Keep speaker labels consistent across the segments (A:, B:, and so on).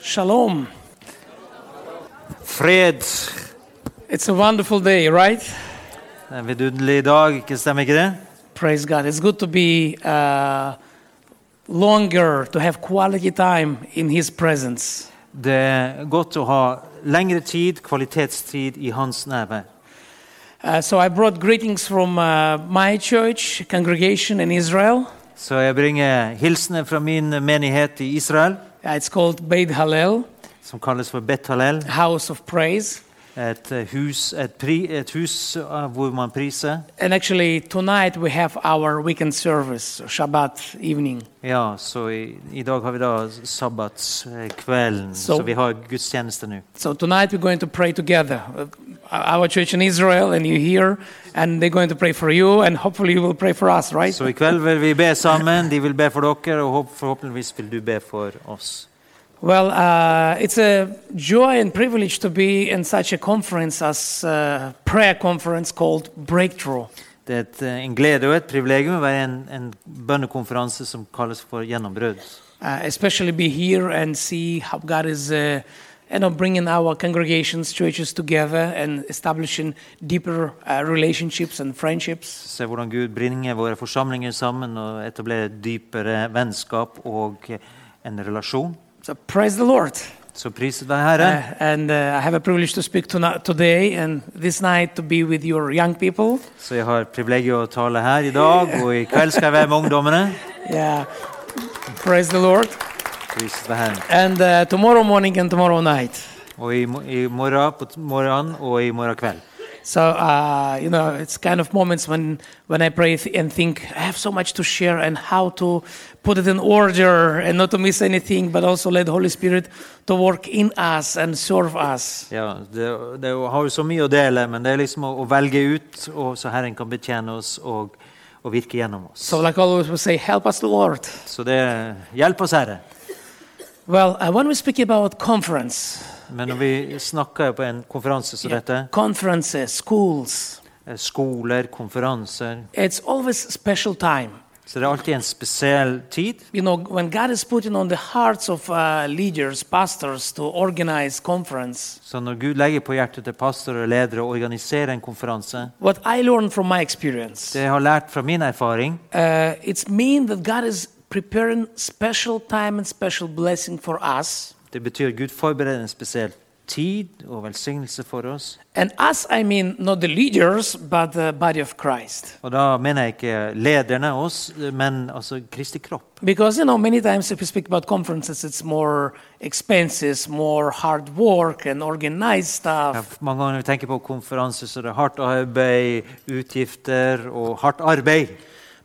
A: Shalom.
B: Fred.
A: It's a wonderful day, right?
B: Det er en vidunderlig dag, ikke stemmer ikke det?
A: Praise God. It's good to be uh, longer, to have quality time in His presence.
B: Det er godt å ha lengre tid, kvalitetstid, i hans nærvær.
A: Uh, so I brought greetings from uh, my church congregation in Israel.
B: Så jeg bringer hilsener fra min menighet i Israel,
A: Uh, it's called Beit Hallel,
B: som kalles for Bet Hallel.
A: House of Praise.
B: Et eh, hus, et pri, et hus eh, hvor man priser.
A: And actually, tonight we have our weekend service, Shabbat evening.
B: Ja, så i, i dag har vi da sabbatskvelden,
A: Så-
B: så, vi har gudstjeneste nå.
A: So tonight we're going to pray together. Uh, Our church in Israel, and you here, and they're going to pray for you, and hopefully you will pray for us, right?
B: Så i kveld vil vi be sammen. De vil be for dere, og håp- forhåpentligvis vil du be for oss.
A: Well, uh, it's a joy and privilege to be in such a conference as uh, prayer conference called Breakthrough.
B: Det er et, eh, en glede og et privilegium å være i en, en bønnekonferanse som kalles for Gjennombrudd.
A: Uh, especially be here and see how God is, uh, you know, bringing our congregations, churches together and establishing deeper uh, relationships and friendships.
B: Se hvordan Gud bringer våre forsamlinger sammen og etablerer dypere vennskap og en relasjon.
A: So praise the Lord.
B: Så priset være Herre.
A: Uh, and uh, I have a privilege to speak tonight, today and this night to be with your young people.
B: Så jeg har privilegiet å tale her i dag, og i kveld skal jeg være med ungdommene.
A: Yeah, praise the Lord.
B: Priset være Herren.
A: And uh, tomorrow morning and tomorrow night.
B: Og i, mo- i morgen på t- morgenen og i morgen kveld.
A: So uh, you know, it's kind of moments when when I pray th- and think I have so much to share and how to put it in order and not to miss anything, but also let the Holy Spirit to work in us and serve us.
B: Ja, det, det har jo så mye å dele, men det er liksom å, å velge ut, og så Herren kan betjene oss og, og virke gjennom oss.
A: So, like always, we say, "Help us, Lord."
B: Så det hjelper oss, Herre.
A: Well, uh, when we speak about conference,
B: Men når vi snakker på en konferanse som dette,
A: conferences, schools,
B: eh, skoler, konferanser,
A: it's always special time.
B: så det er alltid en spesiell tid.
A: You know, when God is putting on the hearts of uh, leaders, pastors to organize conference.
B: Så når Gud legger på hjertet til pastorer og ledere å organisere en konferanse
A: What I learned from my experience.
B: Det jeg har lært fra min erfaring,
A: uh, it's mean that God is preparing special time and special blessing for us.
B: det betyr at Gud forbereder en spesiell tid og velsignelse for oss.
A: And us, I mean not the leaders, but the body of Christ.
B: Og da mener jeg ikke lederne, oss, men altså Kristi kropp.
A: Because, you know, many times if we speak about conferences, it's more expenses, more hard work, and organized
B: Ja,
A: stuff.
B: mange ganger når vi tenker på konferanser, så er det hardt arbeid, utgifter og hardt arbeid.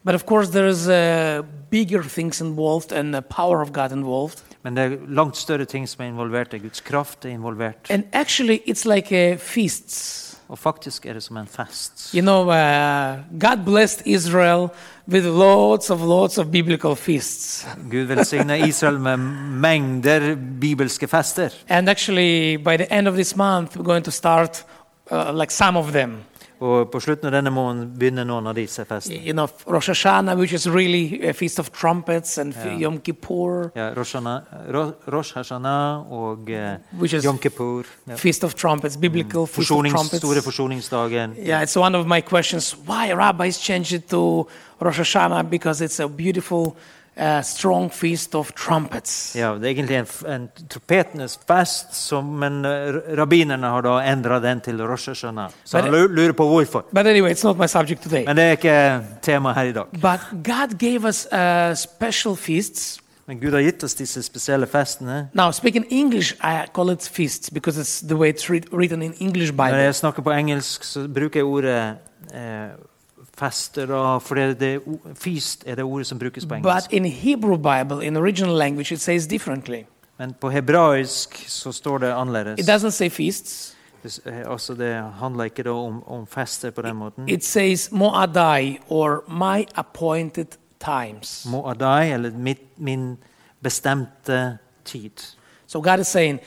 A: But of course, there is uh, bigger things involved and the power of God involved.
B: Men det er langt større ting som er involvert. Det er Guds kraft er involvert.
A: And actually, it's like uh, feasts.
B: Og faktisk er det som en fest.
A: You know, uh, God blessed Israel with lots of lots of biblical feasts.
B: Gud velsigner Israel med mengder bibelske fester.
A: And actually, by the end of this month, we're going to start uh, like some of them.
B: Og på slutten av denne måneden begynner noen av disse festene.
A: You know, Rosh Hashanah, which is really a feast of trumpets, and F- Yom Kippur,
B: Ja, Rosh Hana- Ro- Rosh Hashanah og eh,
A: Which is-
B: Yom Kippur. Ja.
A: feast of trumpets, biblical feast of
B: Forsonings, store
A: trumpets.
B: forsoningsdagen.
A: Yeah, it's one of my questions. Why rabbis changed it to Rosh Hashanah? Because it's a beautiful, uh, strong feast of trumpets.
B: Ja, det er egentlig en, f- en trompetenes fest, som, men eh, rabbinerne har da endra den til Rosh Hashanah. Så
A: Men-
B: han lu- lurer på hvorfor.
A: But anyway, it's not my subject today.
B: Men det er ikke tema her i dag.
A: But God gave us uh, special feasts.
B: Men Gud har gitt oss disse spesielle festene.
A: Now, speaking English, I call it feasts because it's the way it's writ- written in English
B: Når
A: Bible.
B: jeg snakker på engelsk, så bruker jeg ordet eh, fester, da, for det, det, o- feast er det ordet som brukes på engelsk.
A: But in Hebrew Bible, in original language, it says differently.
B: Men på hebraisk så står det
A: It
B: annerledes.
A: doesn't say feasts.
B: Det, s- eh, altså det handler ikke da om, om fester på den måten.
A: It says mo'adai or my appointed times.
B: Mo'adai, eller mitt, min bestemte tid.
A: So God is saying,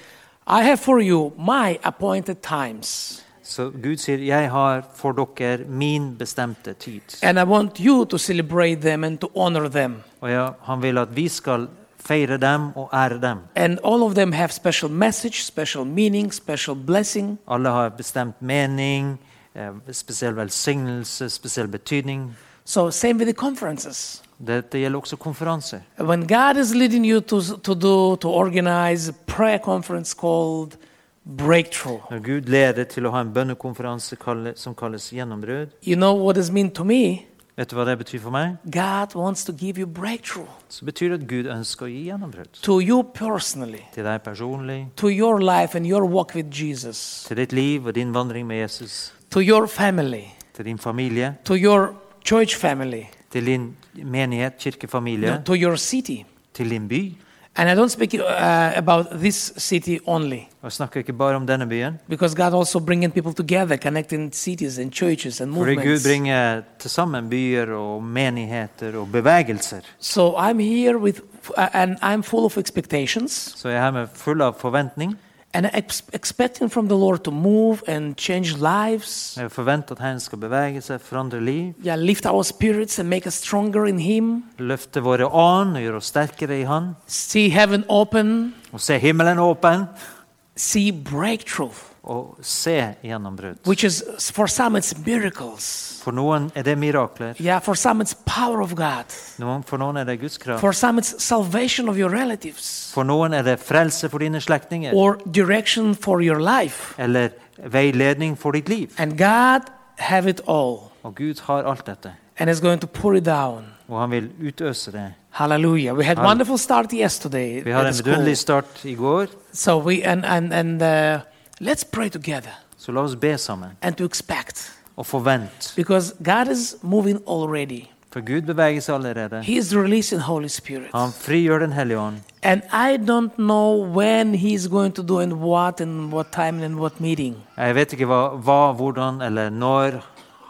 A: I have for you my appointed times.
B: Så Gud sier, jeg har for dere min bestemte tid.
A: And I want you to celebrate them and to honor them.
B: Og ja, han vil at vi skal feire dem og ære dem.
A: And all of them have special message, special meaning, special blessing.
B: Alle har bestemt mening, eh, spesiell velsignelse, spesiell betydning.
A: So, same with the conferences.
B: Dette gjelder også konferanser.
A: When God is leading you to, to do, to organize a prayer conference called Breakthrough,
B: Når Gud leder til å ha en bønnekonferanse kalle- som kalles gjennombrudd,
A: you know what it means to me?
B: vet du hva det betyr for meg?
A: God wants to give you breakthrough
B: Så betyr det at Gud ønsker å gi gjennombrudd.
A: to you personally,
B: Til deg personlig,
A: to your life and your walk with Jesus,
B: til ditt liv og din vandring med Jesus,
A: to your family,
B: til din familie,
A: to your church family,
B: til din menighet, kirkefamilie,
A: to your city.
B: til din by.
A: And I don't speak uh, about this city only,
B: Og jeg snakker ikke bare om denne byen.
A: because God also bringing people together, connecting cities and churches and
B: Fordi Gud
A: movements.
B: bringer til sammen byer og menigheter og bevegelser.
A: so I'm here with, uh, and I'm full of expectations,
B: Så jeg er her med full av forventning.
A: and ex- expecting from the Lord to move and change lives,
B: Jeg forventer at Herren skal bevege seg, forandre liv,
A: yeah, lift our spirits and make us stronger in Him.
B: løfte våre ånd og gjøre oss sterkere i Han.
A: See heaven open,
B: Og se himmelen åpen,
A: see breakthrough,
B: og se gjennombrudd.
A: which is for some it's miracles.
B: For noen er det mirakler.
A: Yeah, for some it's power of God.
B: Noen, for noen er det Guds kraft.
A: For some it's salvation of your relatives.
B: For noen er det frelse for dine slektninger.
A: or direction for your life.
B: Eller veiledning for ditt liv.
A: And God have it all
B: Og Gud har alt dette.
A: and is going to pour it down.
B: Og han vil utøse det.
A: Hallelujah. We had wonderful start yesterday.
B: Vi
A: at
B: har
A: the
B: en
A: school.
B: vidunderlig start i går,
A: So we and and and uh, let's pray together
B: så la oss be sammen.
A: and to expect
B: Og forvent.
A: because God is moving already.
B: For Gud beveger seg allerede.
A: He is releasing Holy Spirit.
B: Han frigjør Den hellige ånd.
A: And I don't know when he's going to do and what and what time and what meeting.
B: Jeg vet ikke hva, hva hvordan eller når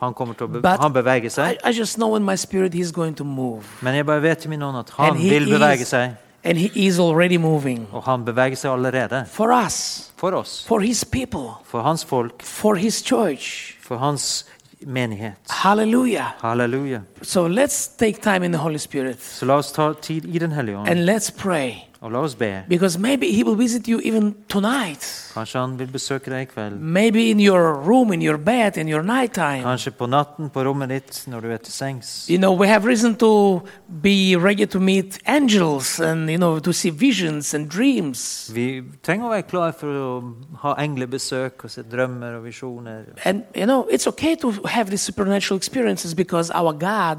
B: han kommer til å be
A: But
B: han beveger
A: I,
B: seg.
A: I just know in my spirit he's going to move.
B: Men jeg bare vet i min ånd at
A: and
B: han
A: he
B: vil bevege
A: is,
B: seg.
A: and he is already moving.
B: Og han beveger seg allerede.
A: For us.
B: For oss.
A: for his people,
B: For hans folk.
A: for his church.
B: For hans menighet.
A: Hallelujah.
B: Halleluja.
A: So let's take time in the Holy Spirit
B: Så la oss ta tid i Den hellige ånd,
A: and let's pray
B: og la oss be.
A: because maybe he will visit you even tonight.
B: Kanskje han vil besøke deg i kveld.
A: Maybe in your room, in your bed, in your nighttime.
B: Kanskje på natten, på rommet ditt, når du er til sengs.
A: You know, we have reason to be ready to meet angels and, you know, to see visions and dreams.
B: Vi trenger å være klar for å ha englebesøk og se drømmer og visjoner.
A: And, you know, it's okay to have these supernatural experiences because our God,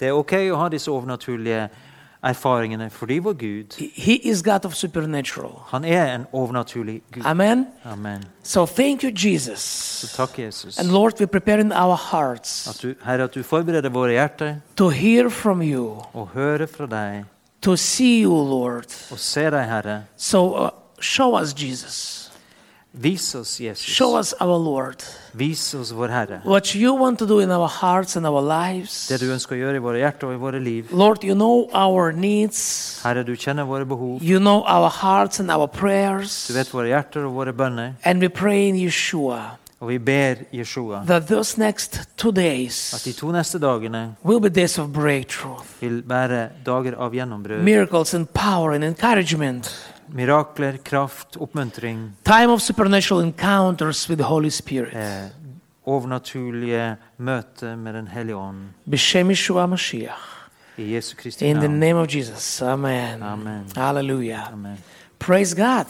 B: Det er ok å ha disse overnaturlige erfaringene fordi vår Gud,
A: He- He is God of supernatural.
B: han er en overnaturlig Gud.
A: Amen.
B: Amen.
A: So thank you, Jesus.
B: Så takk, Jesus,
A: And Lord, we prepare in our hearts
B: at du, Herre, at du forbereder våre hjerter
A: to hear from you,
B: og hører fra deg
A: to see you, Lord.
B: og ser deg, Herre.
A: So uh, show us Jesus.
B: Vis oss, Jesus.
A: Show us our Lord.
B: Vis oss vår Herre.
A: What you want to do in our hearts and our lives.
B: Det du ønsker å gjøre i våre hjerter og i våre liv.
A: Lord, you know our needs.
B: Herre, du kjenner våre behov.
A: You know our hearts and our
B: Du
A: prayers.
B: vet våre hjerter og våre bønner.
A: And we pray in Yeshua
B: Og vi ber Jeshua
A: that those next two
B: at de
A: days
B: to neste dagene
A: will be days of breakthrough,
B: vil være dager av gjennombrudd.
A: miracles and power and encouragement,
B: Mirakler, kraft, oppmuntring,
A: time of supernatural encounters with the Holy Spirit.
B: eh, overnaturlige møter med Den hellige ånd.
A: B'Shem Yeshua Mashiach.
B: I Jesu Kristi
A: In the
B: navn.
A: name of Jesus. Amen.
B: Amen.
A: Hallelujah.
B: Amen.
A: Praise God.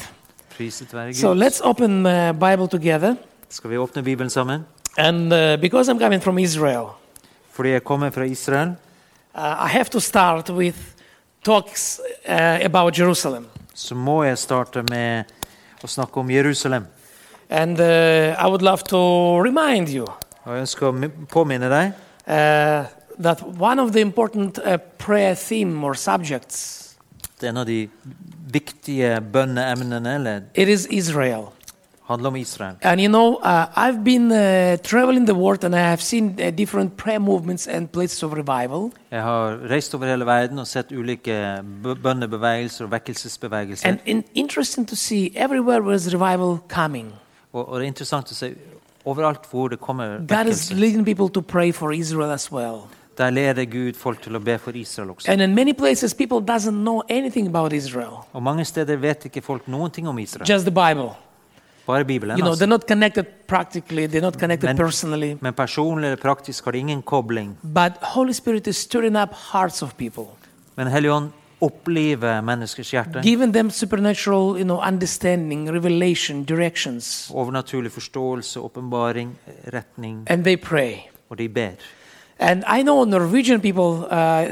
B: Priset være
A: So
B: Gud.
A: let's open uh, Bible together.
B: Skal vi åpne Bibelen sammen?
A: And uh, because I'm coming from Israel,
B: Fordi jeg kommer fra Israel,
A: uh, I have to start with talks uh, about Jerusalem.
B: så må jeg starte med å snakke om Jerusalem.
A: And uh, I would love to remind you
B: Og jeg ønsker å mi- påminne deg
A: uh, that one of the important uh, prayer theme or subjects
B: at en av de viktige bønneemnene eller,
A: it is Israel.
B: handler om Israel.
A: And you know, uh, I've been uh, traveling the world and I have seen uh, different prayer movements and places of revival.
B: Jeg har reist over hele verden og sett ulike bø- bønnebevegelser og vekkelsesbevegelser.
A: And in, interesting to see everywhere where is revival coming.
B: og, og det er interessant å se overalt hvor det kommer
A: God is
B: vekkelse.
A: leading people to pray for Israel as well.
B: Der lærer Gud folk til å be for Israel også.
A: And in many places, people doesn't know anything about Israel,
B: Og mange steder vet ikke folk noen ting om Israel.
A: just the Bible.
B: Bare Bibelen.
A: You know,
B: Altså.
A: they're not connected practically, they're not connected
B: Men-
A: personally.
B: Men personlig eller praktisk har de ingen kobling.
A: But Holy Spirit is stirring up hearts of people,
B: Men Hellige Ånd oppliver menneskers hjerte.
A: giving them supernatural, you know, understanding, revelation, directions,
B: Overnaturlig forståelse, åpenbaring, retning.
A: and they pray.
B: Og de ber.
A: And I know Norwegian people, uh,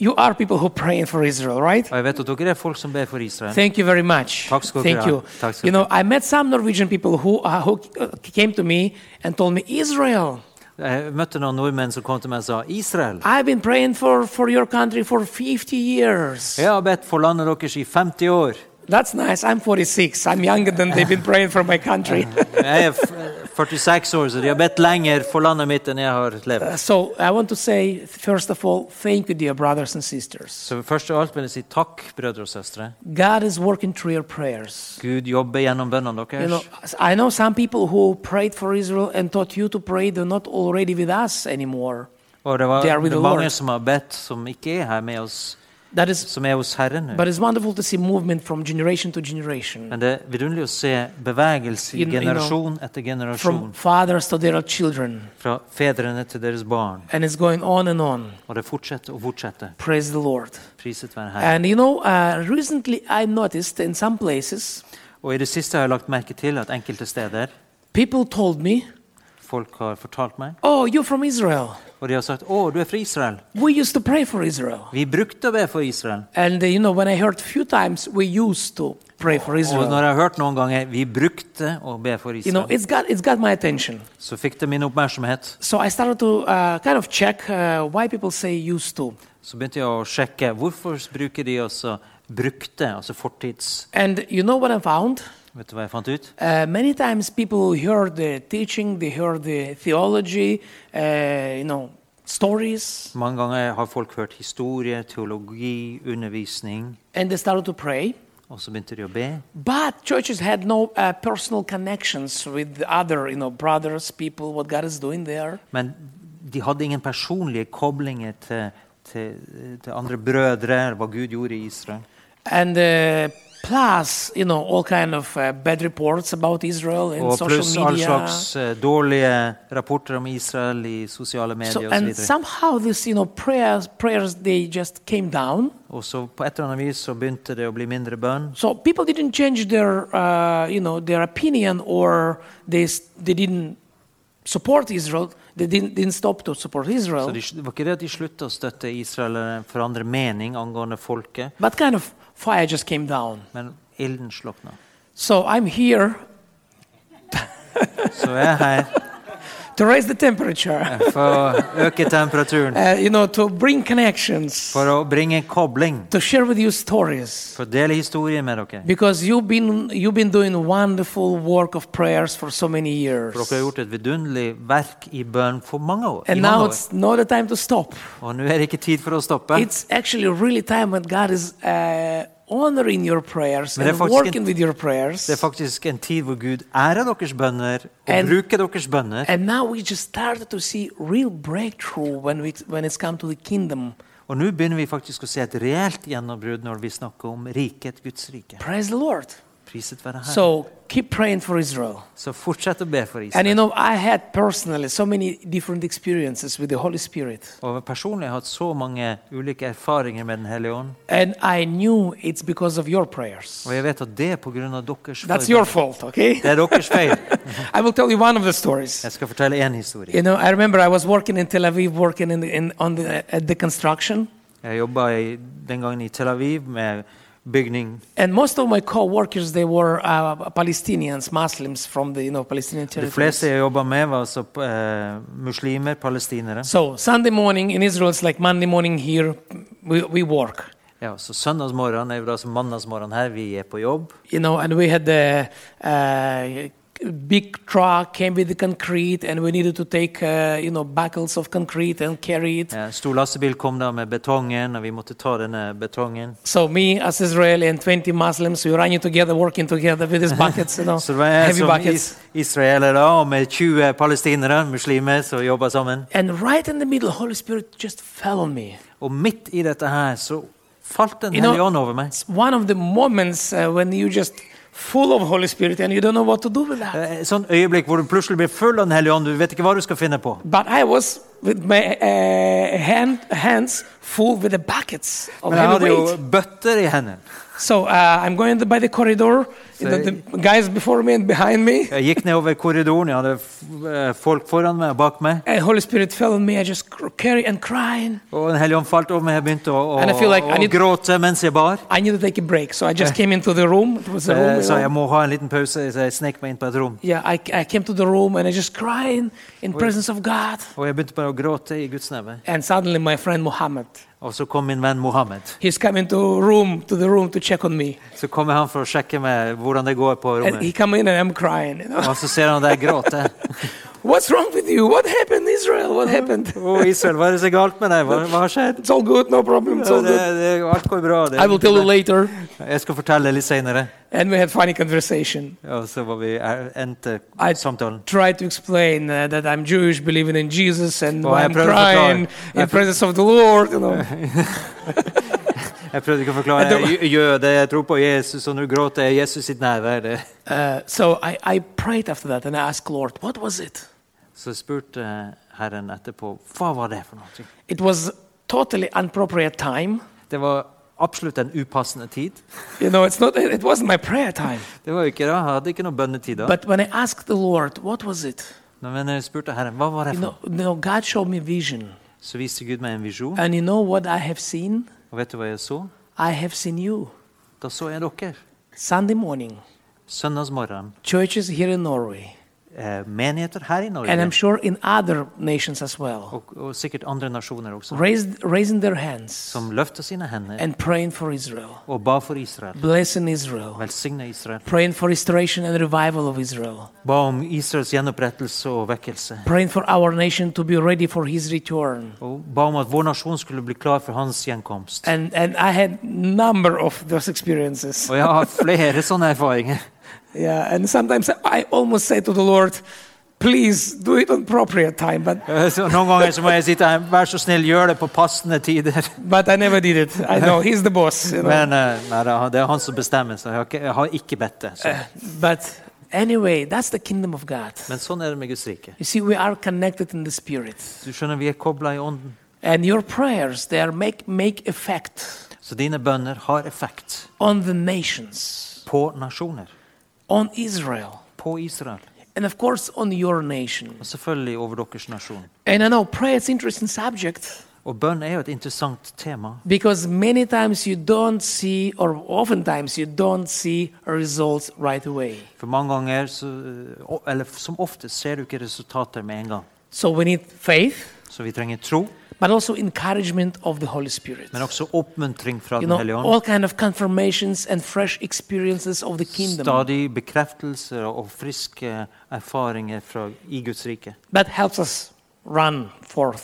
A: you are people who praying for Israel, right?
B: Og jeg vet at dere er folk som ber for Israel.
A: Thank you very much.
B: Tack ska du
A: Thank
B: ha.
A: you.
B: Tack ska
A: You
B: du
A: know, I met some Norwegian people who, uh, who uh, came to me and told me, Israel,
B: Jeg møtte noen nordmenn som kom til meg og sa Israel.
A: I've been praying for, for your country for 50 years.
B: Jeg har bedt for landet deres i 50 år.
A: That's nice. I'm 46. I'm younger than they've been praying for my country.
B: Jeg er f- 46 år, så de har bedt lenger for landet mitt enn jeg har levd.
A: so I want to say, first of all, thank you, dear brothers and sisters.
B: Så først av alt vil jeg si takk, brødre og søstre.
A: God is working through your prayers.
B: Gud jobber gjennom bønnene
A: You know,
B: deres.
A: I know some people who prayed for Israel and taught you to pray, they're not already with us anymore.
B: Og det var
A: They are with the
B: det er mange
A: Lord.
B: som har bedt, som ikke er her med oss,
A: That is
B: som er hos Herren nå.
A: But it's wonderful to see movement from generation to generation,
B: Men det er vidunderlig å se bevegelse i
A: You know- you know,
B: generasjon etter
A: from
B: generasjon.
A: fathers to their children,
B: Fra fedrene til deres barn.
A: and it's going on and on.
B: Og det fortsetter og fortsetter.
A: Praise the Lord.
B: Priset være Herren.
A: And you know, uh, recently I noticed in some places,
B: Og i det siste har jeg lagt merke til at enkelte steder
A: people told me,
B: folk har fortalt meg,
A: Oh, you're from Israel.
B: og de har sagt 'Å, du er fra Israel'.
A: We used to pray for Israel.
B: Vi brukte å be for Israel.
A: And uh, you know, when I heard a few times, we used to pray for
B: Og når
A: Israel.
B: jeg har hørt noen ganger 'vi brukte å be for
A: You know,
B: Israel',
A: it's got, it's got my attention.
B: så fikk det min oppmerksomhet.
A: So I started to uh, kind of check uh, why people say used to.
B: Så begynte jeg å sjekke hvorfor bruker de også 'brukte', altså fortids...
A: And you know what I found?
B: Vet du hva jeg fant ut?
A: Uh, many times people hear the teaching, they hear the theology, uh, you know, stories,
B: Mange ganger har folk hørt historie, teologi, undervisning,
A: and they started to pray.
B: og så begynte de å be.
A: But churches had no uh, personal connections with the other, you know, brothers, people, what God is doing there.
B: Men de hadde ingen personlige koblinger til, til, til andre brødre, eller hva Gud gjorde i Israel.
A: And uh, plus, you know, all kind of uh, bad reports about Israel and
B: Og pluss
A: social
B: Oh, all
A: media.
B: slags eh, dårlige rapporter om Israel i sosiale
A: so,
B: medier
A: and
B: osv.
A: somehow this, you know, prayers, prayers, they just came down.
B: Og så på et eller annet vis så begynte det å bli mindre bønn.
A: So people didn't change their, uh, you know, their opinion, or they s- they didn't support Israel. They didn't didn't stop to support
B: Så
A: Israel,
B: de, det var ikke det at de slutta å støtte Israel eller forandre mening angående folket,
A: but kind of fire just came down.
B: men ilden slukna.
A: So I'm here
B: Så jeg er her
A: to raise the temperature,
B: for å øke temperaturen,
A: uh, you know, to bring connections,
B: for å bringe kobling.
A: to share with you stories,
B: For å dele historier med dere.
A: because you've been you've been doing wonderful work of prayers for so many years,
B: For dere har gjort et vidunderlig verk i bønn for mange år. I
A: and now
B: mange år.
A: it's not the time to stop.
B: Og nå er det ikke tid for å stoppe.
A: It's actually really time when God is uh, honoring your prayers
B: Men det er
A: and
B: faktisk en-
A: working with your prayers.
B: Det er faktisk en tid hvor Gud ærer deres bønner og
A: And-
B: bruker deres bønner.
A: And now we just started to see real breakthrough when we when it's come to the kingdom.
B: Og nå begynner vi faktisk å se et reelt gjennombrudd når vi snakker om riket, Guds rike.
A: Praise the Lord.
B: Priset være her.
A: So keep praying for Israel.
B: Så fortsett å be for
A: And you
B: Israel.
A: know, I had personally so many different experiences with the Holy Spirit.
B: Og personlig har jeg hatt så mange ulike erfaringer med Den hellige ånd.
A: And I knew it's because of your prayers.
B: Og jeg vet at det er pga. deres
A: That's
B: feil.
A: your fault, okay?
B: Det er deres feil.
A: I will tell you one of the stories.
B: Jeg skal fortelle én historie.
A: You know, I remember I was working in Tel Aviv, working in, the, in on the, at the construction.
B: Jeg jobba i- den gangen i Tel Aviv med bygning
A: And most of my co-workers, they were uh, Palestinians, Muslims from the you know Palestinian
B: De
A: territories.
B: fleste jeg jobba med, var altså eh, muslimer, palestinere.
A: So Sunday morning in Israel, it's like Monday morning here. We, we work,
B: Ja, så altså søndagsmorgen er jo da som mandagsmorgen her. Vi er på jobb.
A: you know, and we had the uh, big truck came with the concrete, and we needed to take uh, you know buckles of concrete and carry it.
B: Eh, Stor lastebil kom da med betongen, og vi måtte ta denne betongen.
A: So me as Israeli and 20 Muslims, we running together, working together with these buckets, you know,
B: Så det var jeg
A: heavy
B: som
A: buckets.
B: is israelere og med 20 palestinere, muslimer, som jobba sammen.
A: And right in the middle, Holy Spirit just fell on me.
B: Og midt i dette her så falt Den
A: You know-
B: hellige ånd over meg.
A: It's one of the moments uh, when you just full of Holy Spirit and you don't know what to do with that.
B: Eh, Et sånt øyeblikk hvor du plutselig blir full av Den hellige ånd. Du vet ikke hva du skal finne på.
A: But I was with my uh, hand, hands full with the buckets of
B: Men jeg
A: heavy
B: hadde jo
A: weight.
B: bøtter i hendene.
A: So uh, I'm going by the corridor, you know, the guys before me and behind me.
B: Jeg gikk nedover korridoren, jeg hadde f- eh, folk foran meg og bak meg.
A: And Holy Spirit fell on me. I just cr- carry and crying.
B: Og Den hellige ånd falt over meg. Jeg begynte å, å,
A: And I feel like I
B: å
A: need-
B: gråte mens jeg bar.
A: I need to take a break, so I just came into the room. It was a room.
B: Eh,
A: you
B: Så jeg
A: know.
B: må ha en liten pause, så jeg snek meg inn på et rom.
A: Yeah, I, I came to the room and I just crying in presence of God.
B: Og jeg begynte bare å gråte i Guds navn.
A: And suddenly my friend Mohammed,
B: Og så kom min venn Mohammed.
A: he's coming to room to the room to check on me.
B: Så kommer han for å sjekke meg hvordan det går på
A: And
B: rommet.
A: he come in and I'm crying. You know?
B: Og så ser han at jeg gråter.
A: What's wrong with you? What happened, Israel? What happened?
B: Å, Israel, hva er det så galt med deg? Hva, hva har skjedd?
A: It's all good, no problem. It's
B: Ja,
A: all
B: det,
A: good.
B: det, alt går bra. Det,
A: Sånn- I will tell you later.
B: jeg skal fortelle litt senere.
A: And we had funny conversation.
B: Og så var vi er- endte
A: I-
B: samtalen.
A: Try to explain uh, that I'm Jewish, believing in Jesus, and
B: Well,
A: why
B: I
A: I'm
B: probably
A: crying
B: forgot. I Eh.
A: in presence of the Lord. You know.
B: Jeg prøvde ikke å forklare.
A: Jeg
B: Jeg er jøde, jeg tror på Jesus, og nå gråter jeg i Jesus sitt nærvær. Det-
A: Uh, so I, I prayed after that and I asked Lord, what was it?
B: Så spurte Herren etterpå hva var det for noe.
A: It was totally inappropriate time.
B: Det var absolutt en upassende tid.
A: You know, it's not. It wasn't my prayer time.
B: Det var jo ikke da, Jeg hadde ikke noe bønnetid da.
A: But when I asked the Lord, what was it?
B: Men jeg spurte Herren hva var det
A: You
B: for noe.
A: know, you know, God showed me vision.
B: Så viste Gud meg en visjon,
A: And you know what I have seen?
B: og vet du hva jeg så?
A: I have seen you.
B: Da så jeg dere.
A: Sunday morning,
B: Søndagsmorgen.
A: churches here in Norway,
B: eh, menigheter her i
A: and I'm
B: Norge,
A: sure in other nations as well,
B: og, og sikkert andre nasjoner også,
A: raised, raising their hands
B: som løfta sine hender
A: and praying for Israel,
B: og ba for Israel.
A: blessing Israel,
B: Velsigna Israel.
A: praying for restoration and revival of Israel,
B: Ba om Israels gjenopprettelse og vekkelse.
A: praying for our nation to be ready for his return.
B: Og ba om at vår nasjon skulle bli klar for hans gjenkomst.
A: And, and I had number of those experiences.
B: Og jeg har flere sånne erfaringer.
A: Yeah, and sometimes I almost say to the Lord, please do it on appropriate time, but,
B: Eh, Så noen ganger så må jeg sitte her. Vær så snill, gjør det på passende tider.
A: but I never did it. I know he's the boss. You know.
B: Men eh, nei, da, det er han som bestemmer, så jeg har ikke, jeg har ikke bedt det. Så.
A: Eh. But anyway, that's the kingdom of God.
B: Men sånn er det med Guds rike.
A: You see, we are connected in the spirit.
B: Du skjønner, Vi er kobla i ånden.
A: And your prayers, they are make, make effect
B: Så dine bønner har effekt
A: on the nations,
B: på nasjoner.
A: on Israel,
B: På Israel.
A: and of course on your nation.
B: Og selvfølgelig over deres nasjon.
A: And I know prayer is an interesting subject
B: Og bønn er jo et interessant tema.
A: because many times you don't see, or oftentimes you don't see results right away.
B: For mange ganger, så, eh, o- eller som ofte, ser du ikke resultater med en gang.
A: So we need faith,
B: Så vi trenger tro,
A: but also encouragement of the Holy Spirit.
B: men også oppmuntring fra
A: You
B: Den
A: know,
B: hellige ånd.
A: all kind of confirmations and fresh experiences of the kingdom.
B: Stadig bekreftelser og friske erfaringer fra, i Guds rike
A: that helps us run forth.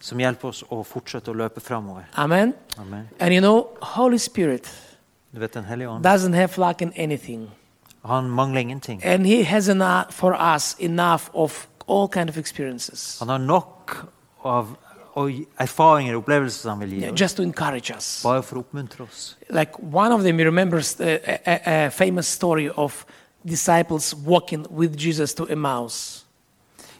B: som hjelper oss å fortsette å løpe framover.
A: Amen.
B: Amen.
A: And you know, Holy Spirit
B: Du vet, Den hellige ånd
A: doesn't have lack in anything,
B: han mangler ingenting.
A: and He has enough for us enough of all kind of experiences,
B: Han har nok av og erfaringer og opplevelser som han vil gi
A: yeah,
B: oss,
A: just to encourage us.
B: bare for å oppmuntre oss.
A: Like one of them, you remember uh, a, a- a famous story of disciples walking with Jesus to Emmaus.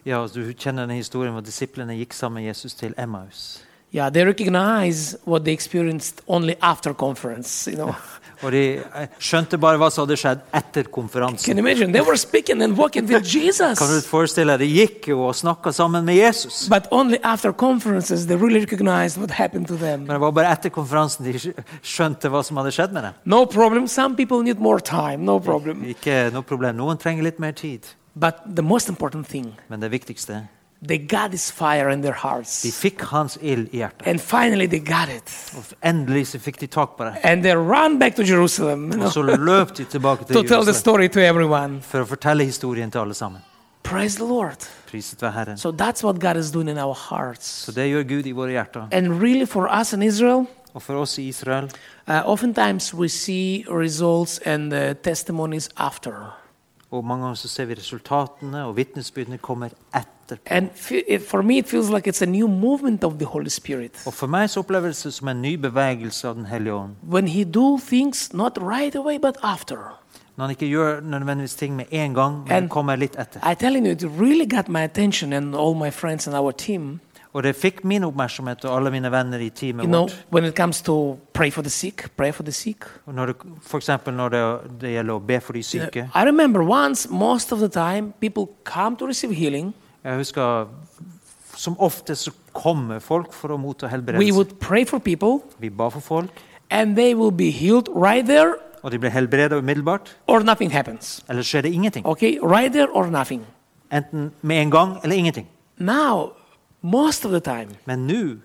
B: Ja, altså, Du kjenner den historien hvor disiplene gikk sammen med Jesus til Emmaus.
A: Yeah, they recognize what they experienced only after conference. You know,
B: Og de eh, skjønte bare hva som hadde skjedd etter
A: can
B: konferansen.
A: you imagine? They were speaking and walking with
B: Kan du
A: Jesus.
B: forestille deg, De gikk jo og snakka sammen med Jesus.
A: But only after conferences they really recognized what happened to them.
B: Men det var bare etter konferansen de skj- skjønte hva som hadde skjedd med dem.
A: No problem, some people need more time, no problem.
B: Ikke noe problem. Noen trenger litt mer tid.
A: But the most important thing,
B: Men det viktigste
A: They got this fire in their
B: De
A: hearts.
B: fikk hans ild i hjertet.
A: And finally they got it.
B: Og endelig så fikk de tak på det.
A: And they run back to Jerusalem you know,
B: Og så løp de tilbake til
A: to tell the
B: Jerusalem
A: story to everyone.
B: for å fortelle historien til alle sammen.
A: Praise the Lord.
B: Priset være Herren.
A: So that's what God is doing in our hearts.
B: Så det gjør Gud i våre hjerter.
A: And really, for us in Israel,
B: Og for oss i Israel
A: uh, oftentimes we see results and uh, testimonies after.
B: Og mange ganger så ser vi resultatene, og vitnesbyrdene kommer etterpå.
A: And fe- it, for me, it feels like it's a new movement of the Holy Spirit.
B: Og for meg så oppleves det som en ny bevegelse av Den hellige ånd.
A: When He do things not right away, but after.
B: Når han ikke gjør nødvendigvis ting med en gang, men
A: And-
B: kommer litt etter.
A: I telling you, it really got my attention and all my friends and our team.
B: Og det fikk min oppmerksomhet og alle mine venner i teamet
A: You know,
B: vårt.
A: when it comes to pray for the sick, pray for the sick.
B: Og når det, for eksempel når det, det gjelder å be for de
A: You know,
B: syke.
A: I remember once, most of the time, people come to receive healing.
B: Jeg husker som ofte så kommer folk for å motta
A: We
B: helbredelse.
A: would pray for people,
B: Vi ba for folk,
A: and they will be healed right there
B: og de ble helbredet umiddelbart.
A: or nothing happens.
B: Eller skjer det ingenting.
A: Okay, right there or nothing.
B: Enten med en gang eller ingenting.
A: Now, most of the time,
B: Men nå,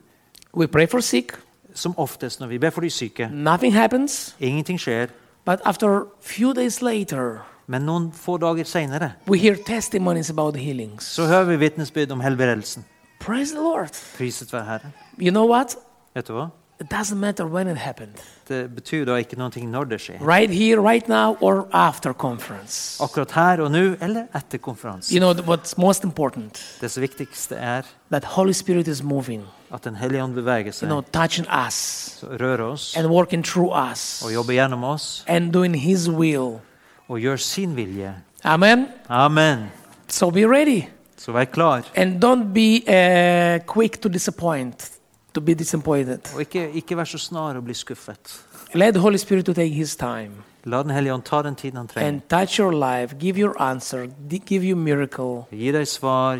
A: we pray for sick,
B: som oftest når vi ber for de syke,
A: nothing happens,
B: ingenting skjer.
A: but after few days later,
B: Men noen få dager seinere
A: we hear testimonies about healings.
B: så hører vi vitnesbyrd om helbredelsen.
A: Praise the Lord.
B: Priset være Herren.
A: You know what?
B: Vet du hva?
A: It doesn't matter when it happened.
B: Det betyr da ikke noe når det skjer.
A: Right here, right now, or after conference.
B: Akkurat her og nå, eller etter konferansen.
A: You know what's most important?
B: Det som viktigste er
A: That Holy Spirit is moving,
B: at Den hellige ånd beveger
A: you
B: seg,
A: know, touching us
B: så rører oss
A: and working through us
B: og jobber gjennom oss
A: and doing His will.
B: og gjør sin vilje.
A: Amen.
B: Amen.
A: So be ready
B: Så vær klar.
A: and don't be uh, quick to disappoint, to be disappointed.
B: Og ikke, ikke vær så snar å bli skuffet.
A: Let the Holy Spirit to take His time
B: La Den hellige ånd ta den tiden han trenger.
A: and touch your life, give your answer, di- give you miracle
B: Gi deg svar,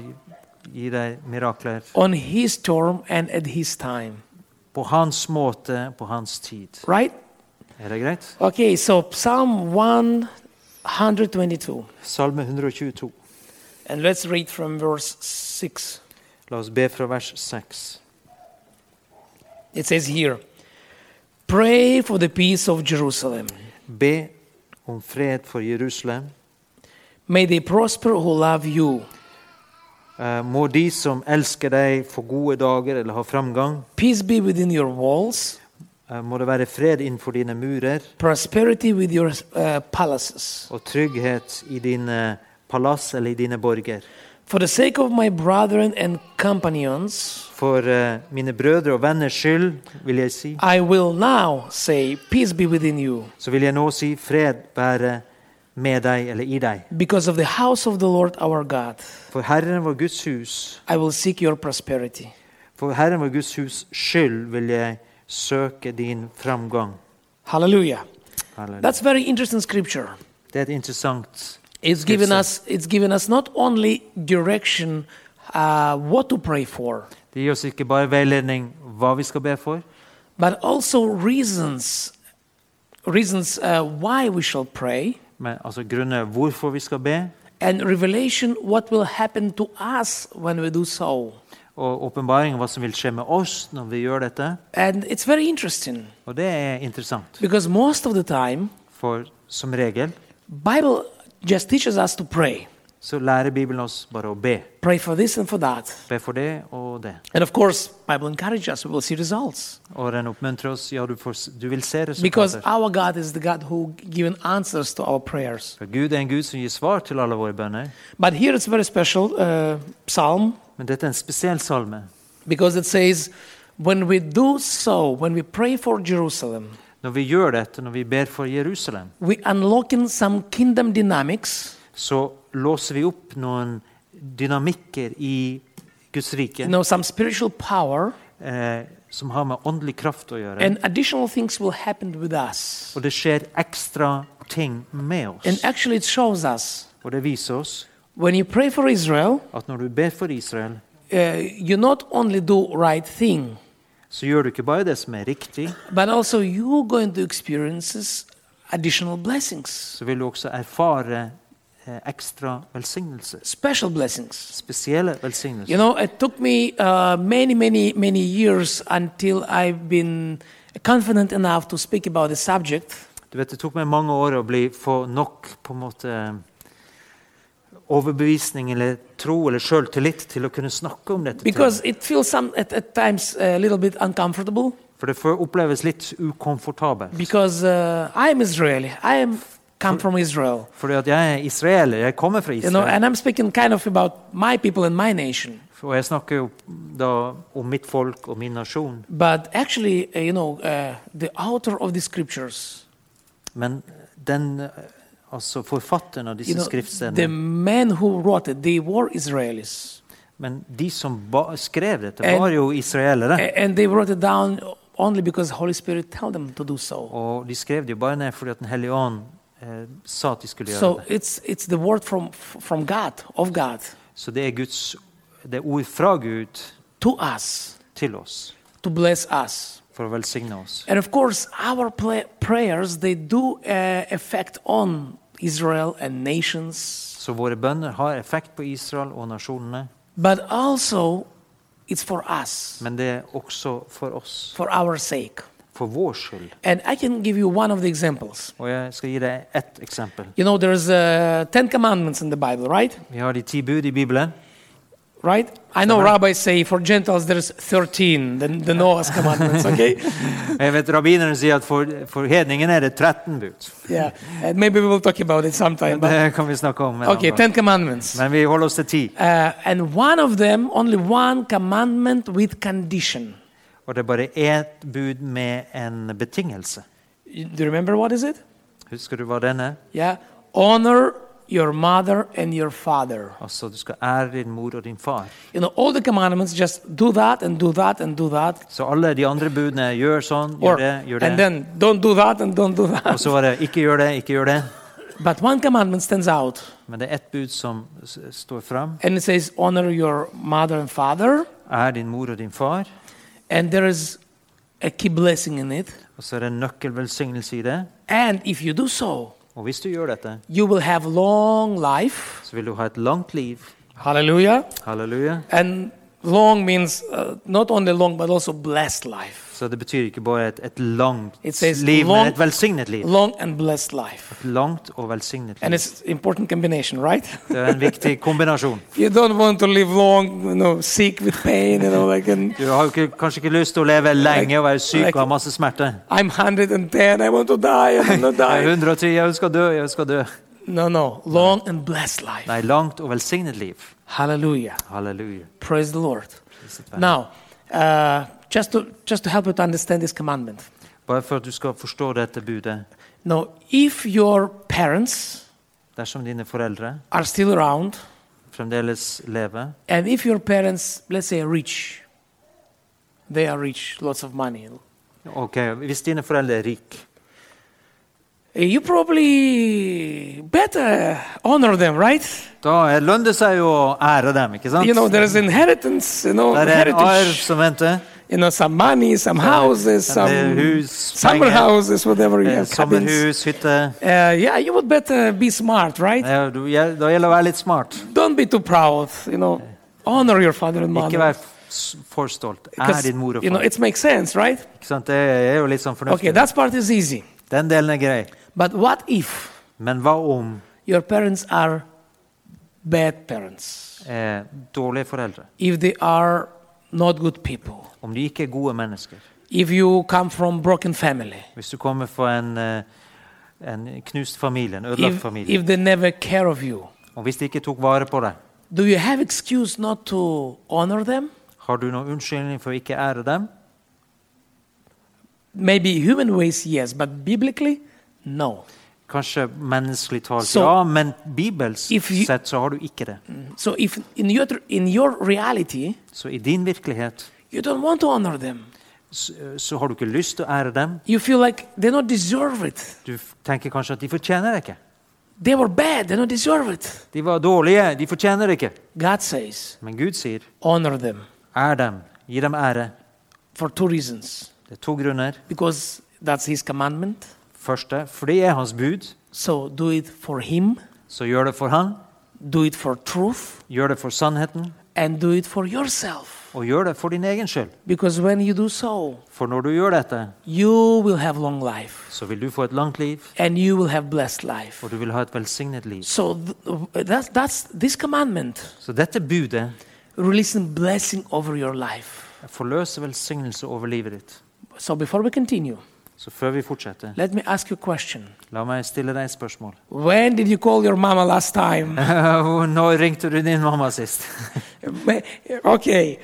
B: gi deg mirakler.
A: on His term and at His time.
B: På hans måte, på hans tid.
A: Right?
B: Er det greit?
A: Okay, so Psalm 122.
B: Salme 122.
A: And let's read from verse 6.
B: La oss be fra vers 6.
A: It says here Pray for the peace of Jerusalem.
B: Be om fred for Jerusalem.
A: May they prosper who love you.
B: Eh, Må de som elsker deg, få gode dager eller ha framgang.
A: Peace be within your walls,
B: Eh, Må det være fred innenfor dine murer
A: prosperity with your uh, palaces.
B: og trygghet i dine palass eller i dine borger.
A: For the sake of my brethren and companions,
B: For eh, mine brødre og venners skyld vil jeg si,
A: I will now say, Peace be within you.
B: så vil jeg nå si fred være med deg eller i deg.
A: Because of the house of the Lord our God,
B: For Herren vår Guds hus,
A: I will seek your prosperity.
B: for Herren vår Guds hus skyld vil jeg søke din framgang.
A: Hallelujah.
B: Halleluja.
A: That's very interesting scripture.
B: Det er et interessant
A: It's given us it's given us not only direction uh, what to pray for,
B: Det gir oss ikke bare veiledning hva vi skal be for,
A: but also reasons reasons uh, why we shall pray
B: men altså grunner hvorfor vi skal be,
A: and revelation what will happen to us when we do so.
B: og åpenbaring av hva som vil skje med oss når vi gjør dette.
A: And it's very interesting
B: Og det er interessant,
A: because most of the time
B: for som regel
A: Bible just teaches us to pray.
B: så lærer Bibelen oss bare å be.
A: Pray for this and for that.
B: Be for det og det.
A: And of course, Bible encourages us, we will see results.
B: Og den oppmuntrer oss. Ja, du, får, s- du vil se
A: Because
B: resultater.
A: our God is the God who given answers to our prayers.
B: For Gud er en Gud som gir svar til alle våre bønner.
A: But here it's very special uh, psalm
B: Men dette er en spesiell salme.
A: because it says, when we do so, when we pray for Jerusalem,
B: Når vi gjør dette, når vi ber for Jerusalem,
A: we unlocking some kingdom dynamics,
B: så låser vi opp noen dynamikker i Guds rike.
A: you know, some spiritual power,
B: eh, som har med åndelig kraft å gjøre.
A: and additional things will happen with us.
B: Og det skjer ekstra ting med
A: And
B: oss.
A: actually, it shows us
B: Og det viser oss
A: when you pray for Israel,
B: at når du ber for Israel,
A: uh, you not only do right thing,
B: så gjør du ikke bare det som er riktig,
A: but also you're going to experience additional blessings.
B: så vil du også erfare eh, ekstra velsignelse.
A: special blessings.
B: Spesielle velsignelser.
A: You know, it took me uh, many, many, many years until I've been confident enough to speak about the subject.
B: Du vet, Det tok meg mange år å bli få nok på en måte overbevisning eller tro eller sjøltillit til å kunne snakke om dette.
A: Because
B: temaet.
A: it feels some, at, at times a little bit uncomfortable.
B: For det får oppleves litt ukomfortabelt.
A: Because uh, I am Israeli. I am come from Israel.
B: Fordi at jeg er israeler, jeg kommer fra
A: You know,
B: Israel.
A: and I'm speaking kind of about my people and my nation.
B: Og jeg snakker jo da om mitt folk og min nasjon.
A: But actually, uh, you know, uh, the author of the scriptures,
B: Men den, eh, altså forfatteren av
A: you
B: disse
A: know, the
B: skriftstedene
A: men who wrote it, they were Israelis.
B: Men de som ba skrev dette,
A: And-
B: var jo israelere.
A: A- And they wrote it down only because Holy Spirit told them to do so.
B: Og de skrev det jo bare ned fordi at Den hellige ånd eh, sa at de skulle gjøre
A: So
B: det.
A: it's it's the word from from God of God
B: Så det er Guds det er ord fra Gud
A: to us
B: til oss
A: to bless us,
B: for å velsigne oss.
A: and of course our pla prayers they do uh, effect on Israel and nations,
B: Så våre bønner har effekt på Israel og nasjonene,
A: but also it's for us
B: men det er også for oss,
A: for our sake.
B: for vår skyld.
A: And I can give you one of the examples.
B: Og jeg skal gi deg ett eksempel.
A: You know, there's uh, Ten Commandments in the Bible, right?
B: Vi har de ti bud i Bibelen.
A: Right? I know rabbis say for Gentiles there's 13, the, the Noah's commandments, okay?
B: Og Jeg vet Rabbineren sier at for, for hedningen er det 13 bud.
A: yeah. And maybe we will talk about it sometime. But
B: Det kan vi snakke om. en annen
A: Okay,
B: gang.
A: Ten Commandments.
B: Men vi holder oss til ti.
A: Uh, and one of them, only one commandment with condition.
B: Og det er bare ett bud med en betingelse.
A: You- Do you remember what is it?
B: Husker du hva den er?
A: Yeah. Honor your mother and your father.
B: Altså, du skal ære din mor og din far.
A: You know, all the commandments just do that and do that and do that.
B: Så alle de andre budene er, gjør sånn,
A: Or,
B: gjør det, gjør
A: and
B: det.
A: then don't do that and don't do that.
B: Og så var det ikke gjør det, ikke gjør det.
A: But one commandment stands out
B: Men det er ett bud som s- står fram.
A: and it says honor your mother and father.
B: Er din mor og din far.
A: And there is a key blessing in it.
B: Og så er det en nøkkelvelsignelse i det.
A: And if you do so,
B: Og hvis du gjør dette,
A: you will have long life.
B: så vil du ha et langt liv.
A: Hallelujah.
B: Halleluja.
A: And long means uh, not only long, but also blessed life.
B: Så det betyr ikke bare et, et langt
A: It says
B: liv,
A: long-
B: men et velsignet liv.
A: Long and blessed life.
B: Et langt og velsignet
A: And
B: liv.
A: it's important combination, right?
B: Det er en viktig kombinasjon.
A: You don't want to live long, you know, sick with pain, you know, like, and
B: Du har jo ikke, kanskje ikke lyst til å leve lenge og være syk og ha masse smerte.
A: I'm 110, I want to die, I want to
B: Jeg er
A: die.
B: 110, jeg skal dø, jeg skal dø.
A: No, no, long and blessed life.
B: Nei, langt og velsignet liv.
A: Hallelujah.
B: Halleluja.
A: Praise the Lord.
B: Priset være.
A: Now, uh, just to just to help you to understand this commandment.
B: Bare for at du skal forstå dette budet.
A: Now, if your parents
B: Dersom dine foreldre
A: are still around,
B: fremdeles lever,
A: And if your parents, let's say, are rich, they are rich, lots of money.
B: ok, Hvis dine foreldre er rike,
A: eh, You probably better honor them, right?
B: da er- lønner det seg jo å ære dem, ikke sant?
A: You know, there is inheritance, you know,
B: Der er en arv
A: heritage,
B: som venter.
A: you know, some money, some houses,
B: en del
A: some
B: hus,
A: summer
B: penger,
A: houses, whatever you
B: eh,
A: have, cabins.
B: sommerhus, hytte.
A: Uh, yeah, you would better be smart, right?
B: Ja, du- ja, Da gjelder det å være litt smart.
A: Don't be too proud, you know. Honor your father and
B: Ikke
A: mother.
B: vær s- for stolt. Ær
A: Because,
B: din mor og
A: you know,
B: far.
A: it makes sense, right?
B: Ikke sant? Det er jo litt sånn
A: Okay,
B: fornuftig.
A: that part is easy.
B: Den delen er grei.
A: But what if
B: Men hva om
A: your parents are bad parents,
B: eh, dårlige foreldre?
A: if they are not good people,
B: Om de ikke er gode mennesker?
A: if you come from broken family,
B: Hvis du kommer fra en, eh, en knust familie, en ødelagt
A: if,
B: familie,
A: if they never care of you,
B: og hvis de ikke tok vare på deg,
A: do you have excuse not to honor them?
B: har du noen unnskyldning for å ikke ære dem?
A: Maybe human ways, yes, but biblically, no.
B: Kanskje menneskelig talt,
A: Så-
B: ja, men bibelsk
A: If you-
B: sett så har du ikke det.
A: So if in your in your reality
B: Så i din virkelighet
A: you don't want to honor them,
B: så, så har du ikke lyst til å ære dem.
A: you feel like they don't deserve it.
B: Du f- tenker kanskje at de fortjener det ikke.
A: They were bad, they don't deserve it.
B: De var dårlige, de fortjener det ikke.
A: God says,
B: Men Gud sier,
A: honor them
B: ær dem, gi dem ære.
A: for two reasons.
B: Det er to grunner.
A: because that's his commandment.
B: Første, for det er hans bud,
A: So do it for him
B: Så gjør det for Han,
A: do it for truth,
B: gjør det for sannheten,
A: and do it for yourself.
B: og gjør det for din egen skyld.
A: Because when you do so,
B: For når du gjør dette,
A: you will have long life
B: så vil du få et langt liv,
A: and you will have blessed life.
B: og du vil ha et velsignet liv.
A: So th- that's, that's this commandment,
B: Så dette budet
A: releasing blessing over your life.
B: forløser velsignelse over livet ditt.
A: So before we continue,
B: Så før vi fortsetter,
A: let me ask you a question.
B: la meg stille deg et spørsmål.
A: When did you call your mama last time?
B: Når ringte du din mamma sist?
A: okay,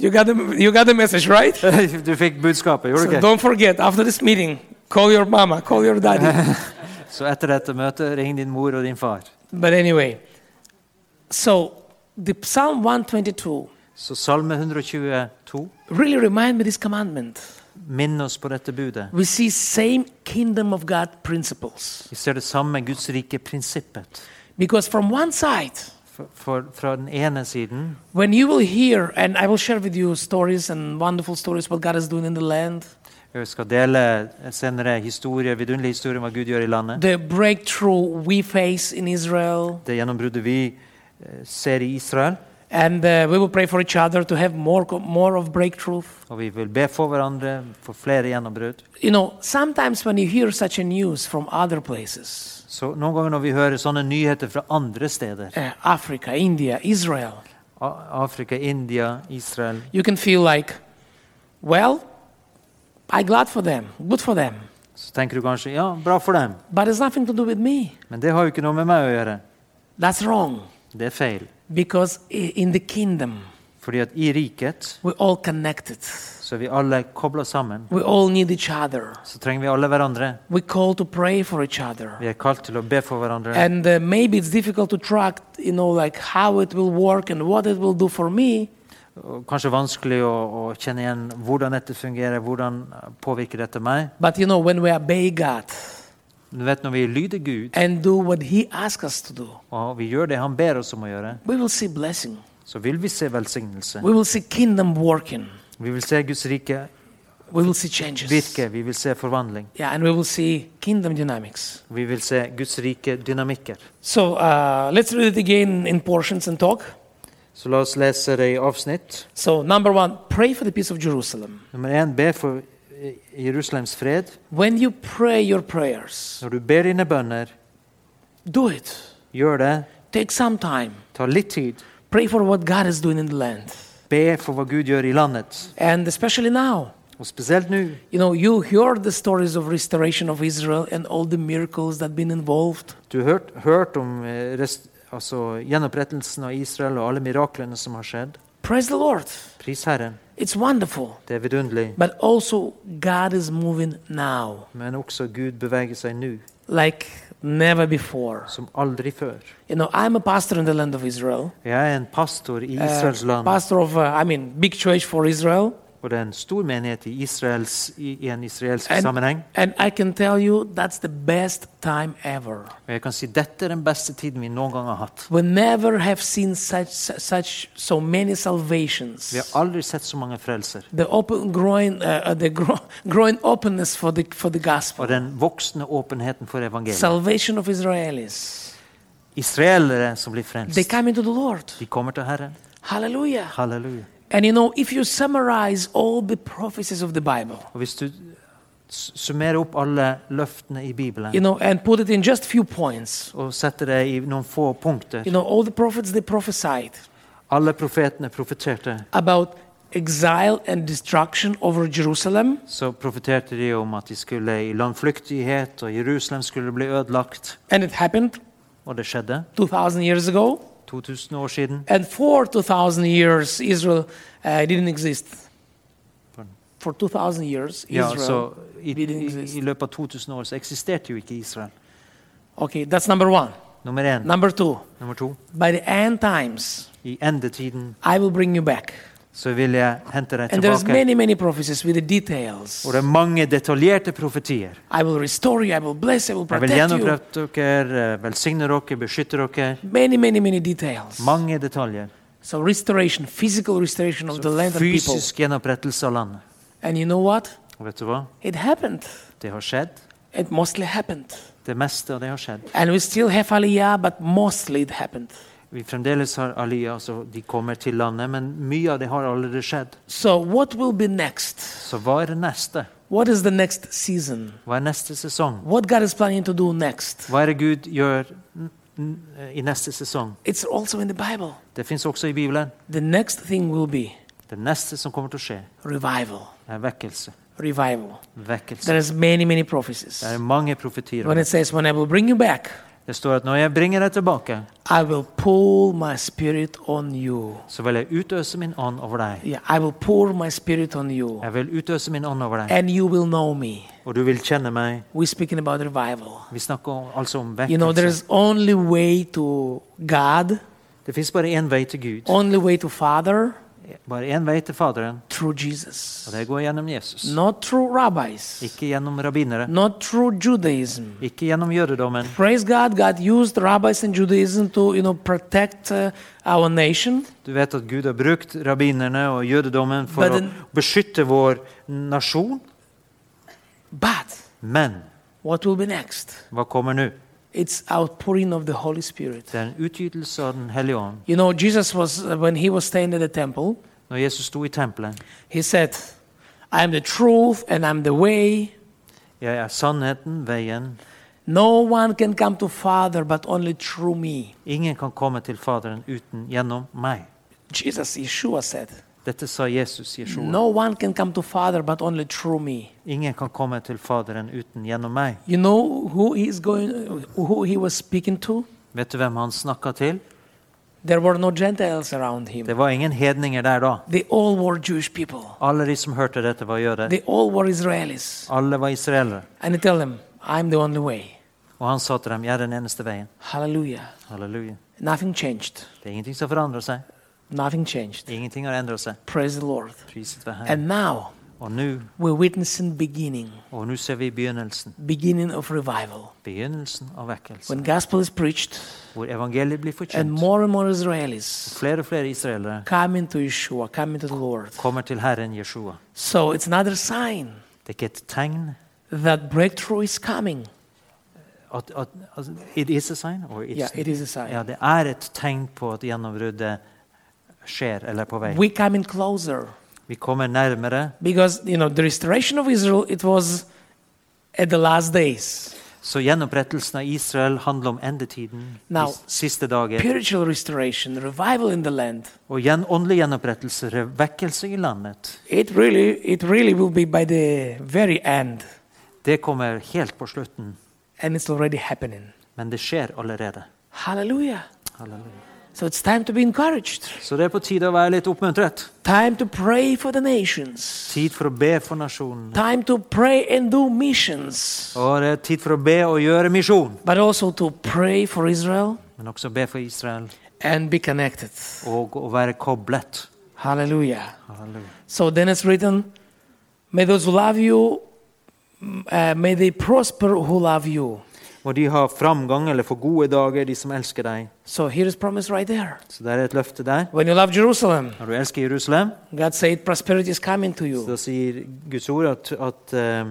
A: you got the, you got the message, right?
B: Du fikk budskapet,
A: So
B: gjorde du ikke?
A: don't forget, after this meeting, call your mama, call your daddy.
B: Så etter dette møtet, ring din mor og din far.
A: but anyway, so the Psalm 122
B: Så Salme 122
A: really remind me this commandment.
B: minn oss på dette budet.
A: We see same kingdom of God principles.
B: Vi ser det samme Guds rike prinsippet.
A: Because from one side,
B: For, for, fra den ene siden
A: when you will hear, and I will share with you stories and wonderful stories what God is doing in the land,
B: Jeg skal dele senere historier, vidunderlige historier om hva Gud gjør i landet.
A: the breakthrough we face in Israel,
B: Det gjennombruddet vi eh, ser i Israel.
A: and uh, we will pray for each other to have more, co- more of breakthrough.
B: Og vi vil be for hverandre for flere gjennombrudd.
A: You know, sometimes when you hear such a news from other places,
B: Så noen ganger når vi hører sånne nyheter fra andre steder,
A: uh, Africa, India, Israel,
B: A- Afrika, India, Israel,
A: you can feel like, well, I'm glad for them, good for them,
B: så tenker du kanskje ja, bra for dem.
A: but it's nothing to do with me.
B: Men det har jo ikke noe med meg å gjøre.
A: That's wrong,
B: Det er feil.
A: because i- in the kingdom,
B: Fordi at i riket
A: we're all connected.
B: så er vi alle kobla sammen.
A: We all need each other.
B: Så trenger vi alle hverandre.
A: We call to pray for each other.
B: Vi er kalt til å be for hverandre.
A: And uh, maybe it's difficult to track, you know, like how it will work and what it will do for me.
B: Og kanskje vanskelig å, å kjenne igjen hvordan dette fungerer, hvordan påvirker dette meg.
A: But you know, when we obey God
B: Du vet Når vi lyder Gud,
A: and do what He asks us to do,
B: og vi gjør det Han ber oss om å gjøre,
A: we will see blessing.
B: så vil vi se velsignelse.
A: We will see kingdom working.
B: Vi vil se Guds rike
A: We will see changes.
B: virke, vi vil se forvandling.
A: Yeah, and we will see kingdom dynamics.
B: Vi vil se Guds rike dynamikker.
A: So uh, let's read it again in portions and talk.
B: Så la oss lese det i avsnitt.
A: So, number one, pray for the peace of Jerusalem.
B: Nummer én, be for eh, Jerusalems fred.
A: When you pray your prayers,
B: Når du ber dine bønner,
A: do it.
B: gjør det.
A: Take some time.
B: Ta litt tid.
A: Pray for what God is doing in the land.
B: Be for hva Gud gjør i landet.
A: And especially now,
B: Og spesielt nå.
A: you know, you heard the stories of restoration of Israel and all the miracles that been involved.
B: Du har hørt, hørt om eh, rest, altså, gjenopprettelsen av Israel og alle miraklene som har skjedd.
A: Praise the Lord.
B: Pris Herren.
A: It's wonderful.
B: Det er vidunderlig.
A: But also, God is moving now
B: Men også Gud beveger seg nå,
A: like never before.
B: som aldri før.
A: You know, I'm a pastor in the land of Israel.
B: Jeg er en pastor i
A: Uh,
B: Israels land,
A: pastor of, uh, I mean, big church for Israel.
B: og det er en stor menighet i, Israels, i, i en israelsk
A: And-
B: sammenheng.
A: And I can tell you that's the best time ever.
B: Og jeg kan si dette er den beste tiden vi noen gang har hatt.
A: We never have seen such, such so many salvations.
B: Vi har aldri sett så mange frelser.
A: the open growing uh, uh, the gro- growing openness for the for the
B: Og
A: gospel
B: den voksende åpenheten for evangeliet.
A: salvation of israelis
B: Israelere som blir
A: they
B: frelst,
A: come into the lord
B: de kommer til Herren.
A: hallelujah
B: Halleluja.
A: and you know if you summarize all the prophecies of the bible
B: Og hvis du s- summerer opp alle løftene i Bibelen
A: you know and put it in just few points
B: og setter det i noen få punkter
A: you know all the prophets they prophesied
B: Alle profetene profeterte.
A: about exile and destruction over jerusalem
B: Så profeterte de om at de skulle i landflyktighet, og Jerusalem skulle bli ødelagt.
A: and it happened
B: Og det skjedde
A: 2000 years ago
B: 2000 år siden.
A: and for 2000 years israel uh, didn't exist
B: Pardon.
A: for 2000 years
B: Ja,
A: israel
B: så i,
A: didn't
B: i,
A: exist.
B: I løpet av 2000 år så eksisterte jo ikke Israel.
A: Okay, that's number one.
B: Nummer én.
A: Number two,
B: Nummer to.
A: by the end times,
B: I endetiden
A: I will bring you back.
B: så vil jeg hente deg
A: And there's
B: tilbake.
A: many, many prophecies with the details.
B: Og det er mange detaljerte profetier.
A: I will restore you, I will bless, I will
B: Jeg vil
A: protect you.
B: gjenopprette dere, eh, velsigne dere, beskytte dere.
A: Many, many, many details.
B: Mange detaljer.
A: So restoration, physical restoration of the land and people.
B: Fysisk gjenopprettelse av landet.
A: And you know what?
B: Og vet du hva?
A: It happened.
B: Det har skjedd.
A: It mostly happened.
B: Det meste av det har skjedd.
A: And we still have Aliyah, but mostly it happened.
B: Vi fremdeles har Aliyah, altså de kommer til landet, men mye av det har allerede skjedd.
A: So, what will be next?
B: Så hva er det neste?
A: What is the next season?
B: Hva er neste sesong?
A: What God is planning to do next?
B: Hva er det Gud gjør n- n- i neste sesong?
A: It's also in the Bible.
B: Det fins også i Bibelen.
A: The next thing will be
B: Det neste som kommer til å skje,
A: revival.
B: er vekkelse.
A: Revival. There
B: Vekkelse.
A: is many, many prophecies.
B: Det er mange profetier. om
A: When it says, When I will bring you back,
B: det. Det står at når jeg bringer deg tilbake,
A: I will pour my spirit on you.
B: så vil jeg utøse min ånd over deg.
A: Yeah, I will pour my spirit on you,
B: Jeg vil utøse min ånd over deg,
A: and you will know me.
B: og du vil kjenne meg.
A: We're speaking about revival.
B: Vi snakker om, altså om
A: You know, there is
B: vekkelse.
A: only way to God,
B: Det fins bare én vei til Gud.
A: only way to Father
B: Bare én vei til Faderen,
A: through
B: og
A: Jesus,
B: det går gjennom Jesus.
A: not through rabbis,
B: Ikke gjennom rabbinere.
A: not through Judaism.
B: Ikke gjennom jødedommen.
A: Praise God, God used rabbis and Judaism to, you know, protect uh, our nation.
B: Du vet at Gud har brukt rabbinerne og jødedommen for
A: But
B: å
A: then-
B: beskytte vår nasjon.
A: But
B: Men
A: what will be next?
B: hva kommer nå?
A: It's outpouring of the Holy Spirit.
B: Det er en utgytelse av Den hellige ånd.
A: You know, Jesus was, uh, when he was staying at the temple,
B: Når Jesus sto i tempelet
A: he said, I am the truth and I'm the way.
B: Jeg er sannheten, veien.
A: No one can come to Father but only through me.
B: Ingen kan komme til Faderen uten gjennom meg.
A: Jesus, Yeshua said,
B: Dette sa Jesus Jeshua.
A: No one can come to Father but only through me.
B: Ingen kan komme til Faderen uten gjennom meg.
A: You know who he is going who he was speaking to?
B: Vet du hvem han snakka til?
A: There were no Gentiles around him.
B: Det var ingen hedninger der da.
A: They all were Jewish people.
B: Alle de som hørte dette, var jøder.
A: They all were Israelis.
B: Alle var israelere.
A: And he tell them, I'm the only way.
B: Og han sa til dem, 'Jeg er den eneste veien'.
A: Hallelujah.
B: Halleluja.
A: Nothing changed.
B: Det er ingenting som forandrer seg.
A: Nothing changed.
B: Ingenting har endret seg.
A: Praise the Lord.
B: Priset være Herren.
A: And now
B: Og nå
A: we're witnessing beginning,
B: og nå ser vi begynnelsen.
A: beginning of revival.
B: Begynnelsen av vekkelsen.
A: When gospel is preached
B: Hvor evangeliet blir
A: and
B: forkynt.
A: more and more Israelis
B: Flere og flere israelere
A: come into Yeshua, come into the Lord.
B: kommer til Herren Jeshua.
A: So it's another sign
B: Det er ikke et tegn
A: that breakthrough is coming.
B: at, at, altså, at It is a sign? Or it's,
A: Yeah, it is a sign.
B: Ja, det er et tegn på at gjennombruddet skjer, eller er på vei.
A: We're coming closer
B: Vi kommer nærmere.
A: because you know the restoration of Israel it was at the last days.
B: Så gjenopprettelsen av Israel handler om endetiden, de
A: Now-
B: siste dager.
A: Spiritual restoration, revival in the land.
B: Og gjen, åndelig gjenopprettelse, re- vekkelse i landet,
A: It really it really will be by the very end
B: det kommer helt på slutten.
A: and it's already happening.
B: Men det skjer allerede.
A: Hallelujah.
B: Halleluja.
A: So it's time to be encouraged.
B: Så det er på tide å være litt oppmuntret.
A: Time to pray for the nations.
B: Tid for å be for nasjonen.
A: Time to pray and do missions.
B: Og det er tid for å be og gjøre misjon.
A: But also to pray for Israel
B: Men også be for Israel
A: and be connected.
B: og å være koblet.
A: Hallelujah.
B: Halleluja.
A: So then it's written, May those who love you, mm, uh, may they prosper who love you.
B: Og de har framgang eller får gode dager, de som elsker deg.
A: So here is promise right there.
B: Så det er et løfte der.
A: When you love Jerusalem,
B: Når du elsker Jerusalem,
A: God said prosperity is coming to
B: så da
A: you.
B: sier Guds ord at, at eh,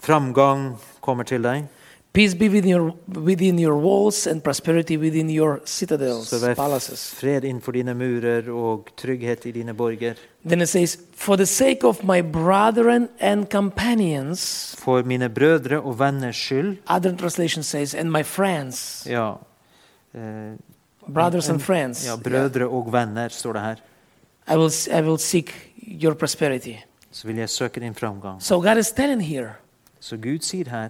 B: framgang kommer til deg.
A: Peace be within your, within your walls and prosperity within your citadels,
B: Så det er
A: palaces.
B: fred innenfor dine murer og trygghet i dine borger.
A: Then it says, For the sake of my brethren and companions,
B: For mine brødre og venners skyld.
A: other translation says, and my friends,
B: Ja, eh,
A: brothers and friends,
B: ja brødre og venner, står det her.
A: I, will, I will seek your prosperity.
B: Så vil jeg søke din framgang.
A: So God is telling here,
B: Så Gud sier her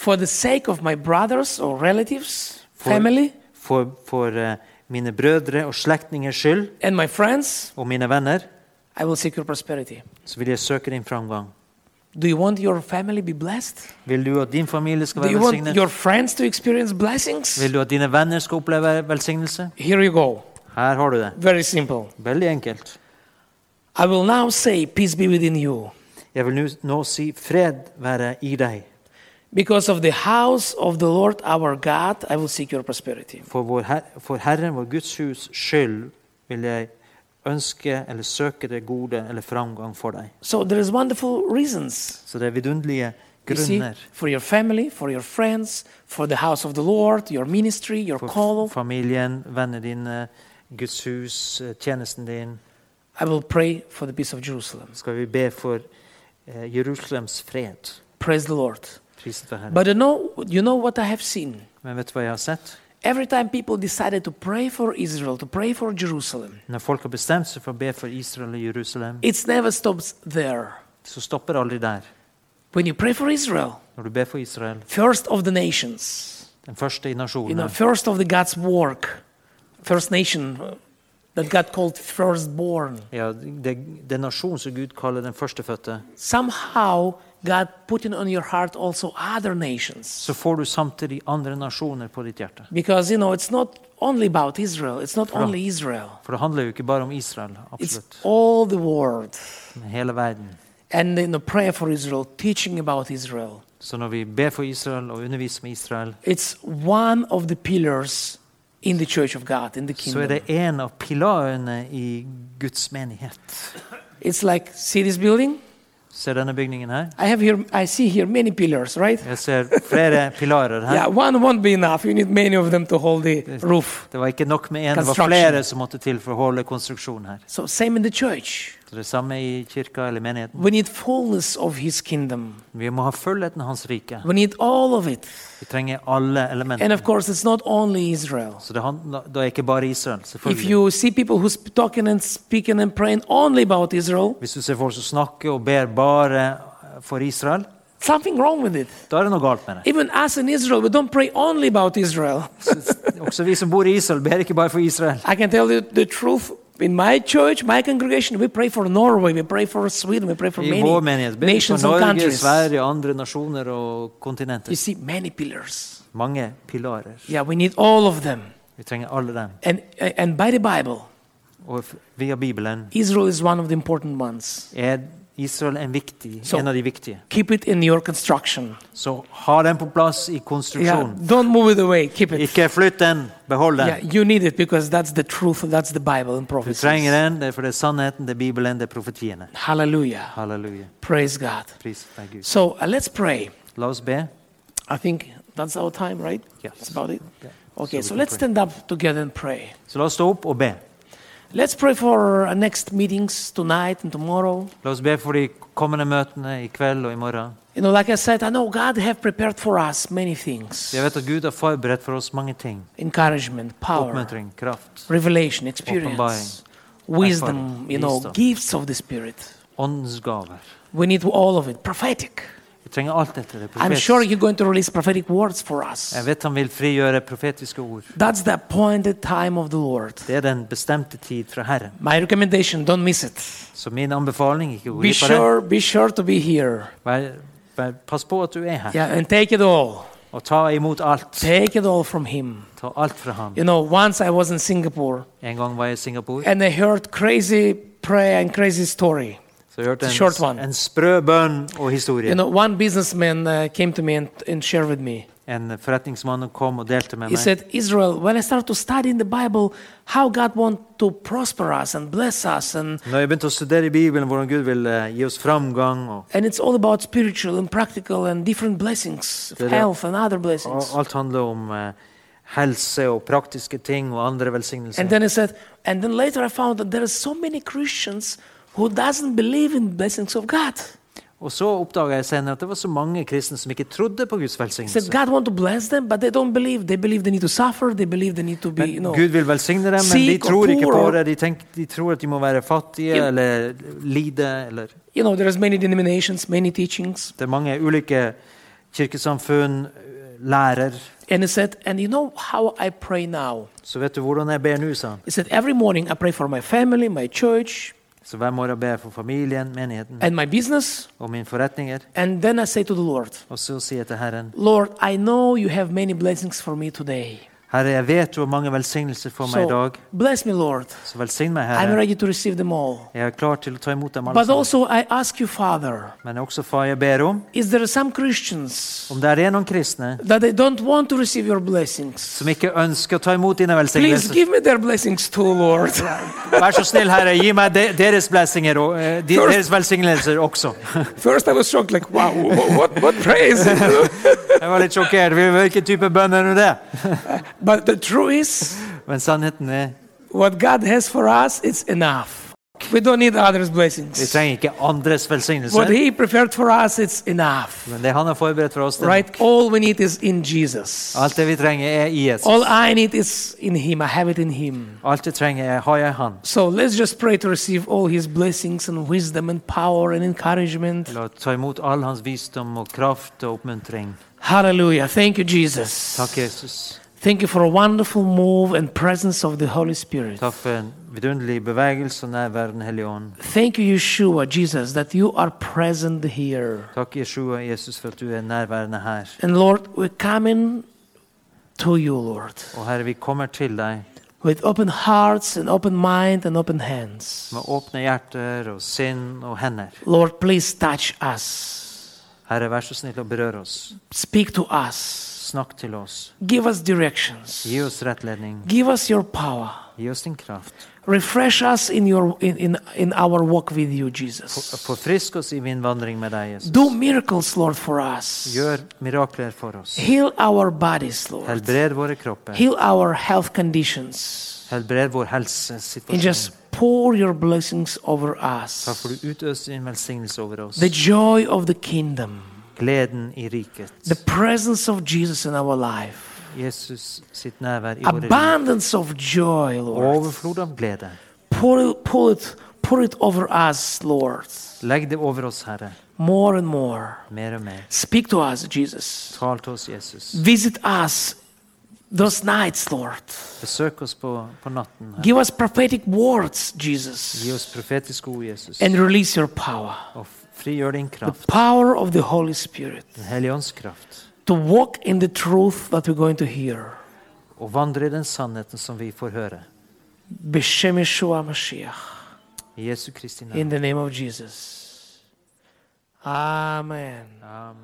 A: for the sake of my brothers or relatives,
B: For-
A: family,
B: For, for eh, mine brødre og slektningers skyld
A: and my friends,
B: og mine venner,
A: I will seek your prosperity.
B: så vil jeg søke din framgang.
A: Do you want your family be blessed?
B: Vil du at din familie skal
A: Do you
B: være
A: want your
B: velsignet?
A: friends to experience blessings?
B: Vil du at dine venner skal oppleve velsignelse?
A: Here you go.
B: Her har du det.
A: Very simple.
B: Veldig enkelt.
A: I will now say, Peace be within you.
B: Jeg vil nu- nå si fred være i deg.
A: Because of the house of the Lord our God, I will seek your prosperity.
B: For, vår her, for Herren, vår Guds hus skyld, vil jeg ønske eller søke det gode eller framgang for deg.
A: So there is wonderful reasons
B: Så det er vidunderlige
A: You see,
B: grunner.
A: for your family, for your friends, for the house of the Lord, your ministry, your
B: For
A: call.
B: f- familien, vennene dine, Guds hus, eh, tjenesten din.
A: I will pray for the peace of Jerusalem.
B: Skal vi be for eh, Jerusalems fred.
A: Praise the Lord.
B: Priset være Herren.
A: But you know, you know what I have seen?
B: Men vet du hva jeg har sett?
A: Every time people decided to pray for Israel, to pray for Jerusalem,
B: Når folk har bestemt seg for å be for Israel og Jerusalem,
A: it never stops there.
B: så stopper det aldri der.
A: When you pray for Israel,
B: Når du ber for Israel,
A: first of the nations,
B: den første i
A: you know,
B: nasjonen,
A: first of the God's work, first nation uh, that God called firstborn.
B: ja, det, det er nasjonen som Gud kaller den førstefødte,
A: Somehow God putting on your heart also other nations.
B: så får du samtidig andre nasjoner på ditt hjerte.
A: Because you know it's not only about Israel, it's not only Israel.
B: For det handler jo ikke bare om Israel,
A: It's
B: absolutt,
A: all the world.
B: men hele verden.
A: And in the prayer for Israel, teaching about Israel.
B: Så når vi ber for Israel og underviser med Israel,
A: It's one of the pillars in the church of God, in the
B: så er
A: kingdom.
B: det en av pilarene i Guds menighet.
A: It's like see this building?
B: Ser denne bygningen her?
A: I have here I see here many pillars, right?
B: Jeg ser flere pilarer her.
A: Yeah, one won't be enough. You need many of them to hold the roof.
B: Det var ikke nok med én, det var
A: Construction.
B: flere som måtte til for å holde konstruksjonen her.
A: So same in the church.
B: Så det samme i kirka eller menigheten.
A: We need fullness of his kingdom.
B: Vi må ha fullheten av Hans rike.
A: We need all of it.
B: Vi trenger alle
A: And of
B: elementene.
A: course, it's not only Israel.
B: Så det handler, da er ikke bare Israel,
A: If
B: selvfølgelig.
A: you see people who's talking and speaking and praying only about Israel,
B: Hvis du ser folk som snakker og ber bare for Israel,
A: something wrong with it.
B: da er det noe galt med det.
A: Even us in Israel, we don't pray only about Israel.
B: Også vi som bor i Israel, ber ikke bare for Israel.
A: I can tell you the truth. In my church, my congregation, we pray for Norway, we pray for Sweden, we pray for
B: I vår
A: many
B: menighet ber vi for
A: nations and
B: Norge,
A: countries.
B: Sverige, andre nasjoner og
A: You
B: kontinenter.
A: see, many pillars.
B: Mange pilarer.
A: Yeah, we need all of them.
B: Vi trenger alle dem.
A: And, and by the Bible,
B: Og f- via Bibelen
A: Israel is one of the important ones.
B: er Israel en, viktig,
A: Så-
B: en av de viktige.
A: Keep it in your construction.
B: Så ha den på plass i
A: Yeah,
B: konstruksjonen.
A: don't move it away. Keep it.
B: Ikke flytt den, behold
A: Yeah,
B: den.
A: you need it because that's the truth. That's the Bible and
B: Du
A: prophecy.
B: trenger den, det er for det er sannheten, det er Bibelen, det er profetiene.
A: Hallelujah.
B: Halleluja.
A: Praise God.
B: Pris deg, Gud.
A: So uh, let's pray.
B: La oss be.
A: I think that's our time, right?
B: Yes.
A: That's about it.
B: Yeah.
A: Okay,
B: So we
A: so
B: can
A: let's
B: pray.
A: stand up together and pray.
B: Så la oss stå opp og be.
A: Let's pray for our next meetings tonight and tomorrow.
B: La oss be for de kommende møtene i kveld og i morgen.
A: You know, like I said, I know God have prepared for us many things.
B: Jeg vet at Gud har forberedt for oss mange ting.
A: Encouragement, power,
B: Oppmuntring, kraft,
A: revelation, experience, wisdom,
B: Erfaring,
A: you know,
B: wisdom.
A: gifts of the Spirit.
B: åndens gaver.
A: We need all of it. Prophetic.
B: Vi trenger alt dette. Det er
A: I'm sure
B: profetisk.
A: you're going to release prophetic words for us.
B: Jeg vet han vil frigjøre profetiske ord.
A: That's the appointed time of the Lord.
B: Det er den bestemte tid fra Herren.
A: My recommendation, don't miss it.
B: Så min anbefaling ikke gå
A: Be
B: glipp av det.
A: sure, be sure to be here.
B: Vær, vær, pass på at du er her,
A: Yeah, and take it all.
B: og ta imot alt.
A: Take it all from him.
B: Ta alt fra ham.
A: You know, once I was in Singapore
B: En gang var jeg i Singapore,
A: and I heard crazy prayer and crazy story.
B: så jeg hørte
A: Short
B: en,
A: one.
B: en sprø bønn og
A: You
B: historie.
A: know, one businessman uh, came to me and, and shared with me.
B: En forretningsmann kom og delte med
A: He
B: meg.
A: said, Israel, when I started to study in the Bible how God want to prosper us and bless us, and,
B: Når jeg begynte å studere i Bibelen hvordan Gud vil eh, gi oss framgang og,
A: and it's all about spiritual and practical and different blessings,
B: Yeah, yeah.
A: health and other blessings.
B: og alt handler om eh, helse og praktiske ting og andre velsignelser.
A: And then he said, and then later I found that there are so many Christians who doesn't believe in blessings of God.
B: Og så oppdaga jeg senere at det var så mange kristne som ikke trodde på Guds
A: He said
B: velsignelse.
A: God want to bless them, but they don't believe. They believe they need to suffer. They believe they need to be, you know.
B: Gud vil velsigne dem, men de
A: Seek or
B: tror ikke på
A: poor.
B: det. De, tenk, de tror at de må være fattige
A: Ja.
B: eller lide eller
A: You know, there's many denominations, many teachings.
B: Det er mange ulike kirkesamfunn, lærer
A: And he said, and you know how I pray now?
B: Så vet du hvordan jeg ber nå, sa han.
A: He said, every morning I pray for my family, my church,
B: Så hver morgen ber jeg for familien, menigheten
A: and my business.
B: og mine forretninger.
A: And then I say to the Lord,
B: Og så sier jeg til Herren,
A: Lord, I know you have many blessings for me today.
B: Herre, jeg vet du har mange velsignelser for meg
A: So
B: i dag,
A: bless me, Lord.
B: så velsign meg,
A: I'm
B: Herre.
A: ready to receive them all.
B: Jeg er klar til å ta imot dem alle
A: But
B: sammen.
A: also, I ask you, Father,
B: Men også, far, jeg ber om
A: is there some Christians
B: om det er noen kristne
A: that they don't want to receive your blessings?
B: som ikke ønsker å ta imot dine
A: Please
B: velsignelser.
A: give me their blessings too, Lord.
B: Vær så snill, Herre, gi meg de- deres blessinger og eh, de-
A: First-
B: deres velsignelser også.
A: First, I was shocked, like, wow, wha- what, what praise?
B: Jeg var litt sjokkert. Hvilken type bønn er nå det?
A: but the truth is,
B: Men sannheten er
A: what God has for us, it's enough. We don't need others'
B: vi
A: blessings.
B: trenger ikke andres
A: What
B: velsignelser.
A: He prepared for us, it's enough.
B: Men det han har forberedt for oss, det
A: Right? All we need is in Jesus.
B: alt det vi trenger, er i Jesus.
A: All I need is in Him. I have it in Him.
B: Alt vi trenger, er har jeg i Han.
A: So let's just pray to receive all His blessings and wisdom and power and encouragement.
B: La oss ta imot all hans visdom og kraft og oppmuntring.
A: Hallelujah. Thank you, Jesus.
B: Takk, Jesus.
A: Thank you for a wonderful move and presence of the Holy Spirit.
B: Takk for en vidunderlig bevegelse og nærvær Den hellige ånd.
A: Thank you, Yeshua, Jesus, that you are present here.
B: Takk, Jeshua, Jesus, for at du er nærværende her.
A: And Lord, we're coming to you, Lord,
B: Og Herre, vi kommer til deg
A: with open hearts and open mind and open hands.
B: med åpne hjerter og sinn og hender.
A: Lord, please touch us.
B: Herre, vær så snill å berøre oss.
A: Speak to us.
B: Snakk til oss.
A: Give us directions.
B: Gi oss rettledning.
A: Give us your power.
B: Gi oss din kraft.
A: Refresh us in, your, in, in, in our walk with you, Jesus.
B: Forfrisk oss i min vandring med deg, Jesus.
A: Do miracles, Lord, for us.
B: Gjør mirakler for oss.
A: Heal our bodies, Lord.
B: Helbred våre kropper.
A: Heal our health conditions.
B: Helbred vår
A: And
B: helsesituasjon.
A: just pour your blessings over
B: Takk for
A: us.
B: du utøser din velsignelse over oss.
A: The joy of the kingdom,
B: Gleden i riket.
A: the presence of Jesus in our life,
B: Jesus sitt nærvær i våre liv.
A: abundance of joy, Lord.
B: Overflod av glede.
A: Pour it, pour it, pour it over us, Lord,
B: Legg det over oss, Herre.
A: more and more.
B: Mer og mer.
A: Speak to us, Jesus.
B: Tal til oss, Jesus.
A: Visit us those nights, Lord.
B: Besøk oss på, på natten. Herre.
A: Give us prophetic words,
B: Gi
A: Jesus,
B: oss profetiske ord, Jesus.
A: and release your power,
B: Og frigjør din
A: the
B: kraft.
A: power of the Holy Spirit,
B: Den hellige ånds kraft.
A: to walk in the truth that we're going to hear.
B: Og vandre i den sannheten som vi får høre.
A: B'Shem Yeshua Mashiach.
B: I Jesu Kristi navn.
A: In the name of Jesus. Amen.
B: Amen.